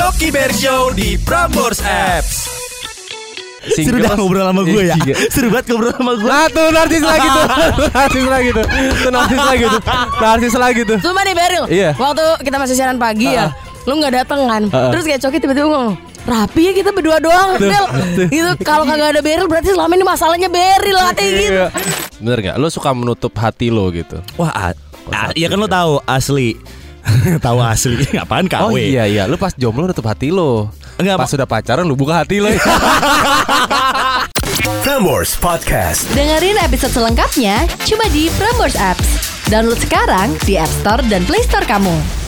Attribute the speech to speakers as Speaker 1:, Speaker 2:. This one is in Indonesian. Speaker 1: Oki Bear Show di Prambors Apps.
Speaker 2: Seru dah ngobrol sama gue ya.
Speaker 3: Iya.
Speaker 2: Seru banget ngobrol sama gue.
Speaker 3: Nah tuh narsis lagi tuh Narsis lagi tuh Tuh narsis lagi tuh Narsis lagi tuh
Speaker 4: Cuma nih Beril
Speaker 3: Iya.
Speaker 4: Waktu kita masih siaran pagi ya Lu gak dateng kan
Speaker 3: Ah.
Speaker 4: Terus kayak Coki tiba-tiba ngomong Rapi ya kita berdua doang Beril Gitu Kalau kagak ada Beril Berarti selama ini masalahnya Beril Katanya gitu
Speaker 3: Iya. Bener gak? Lo suka menutup hati lo gitu
Speaker 2: Wah, a- a- ya kan lo tahu asli. tahu asli. Apaan KW?
Speaker 3: Oh iya iya Lo pas jomblo nutup hati lo
Speaker 2: Enggak,
Speaker 3: Pas
Speaker 2: Pak.
Speaker 3: sudah pacaran lo buka hati lo
Speaker 1: Prambors Podcast.
Speaker 5: Dengerin episode selengkapnya cuma di Prambors Apps. Download sekarang di App Store dan Play Store kamu.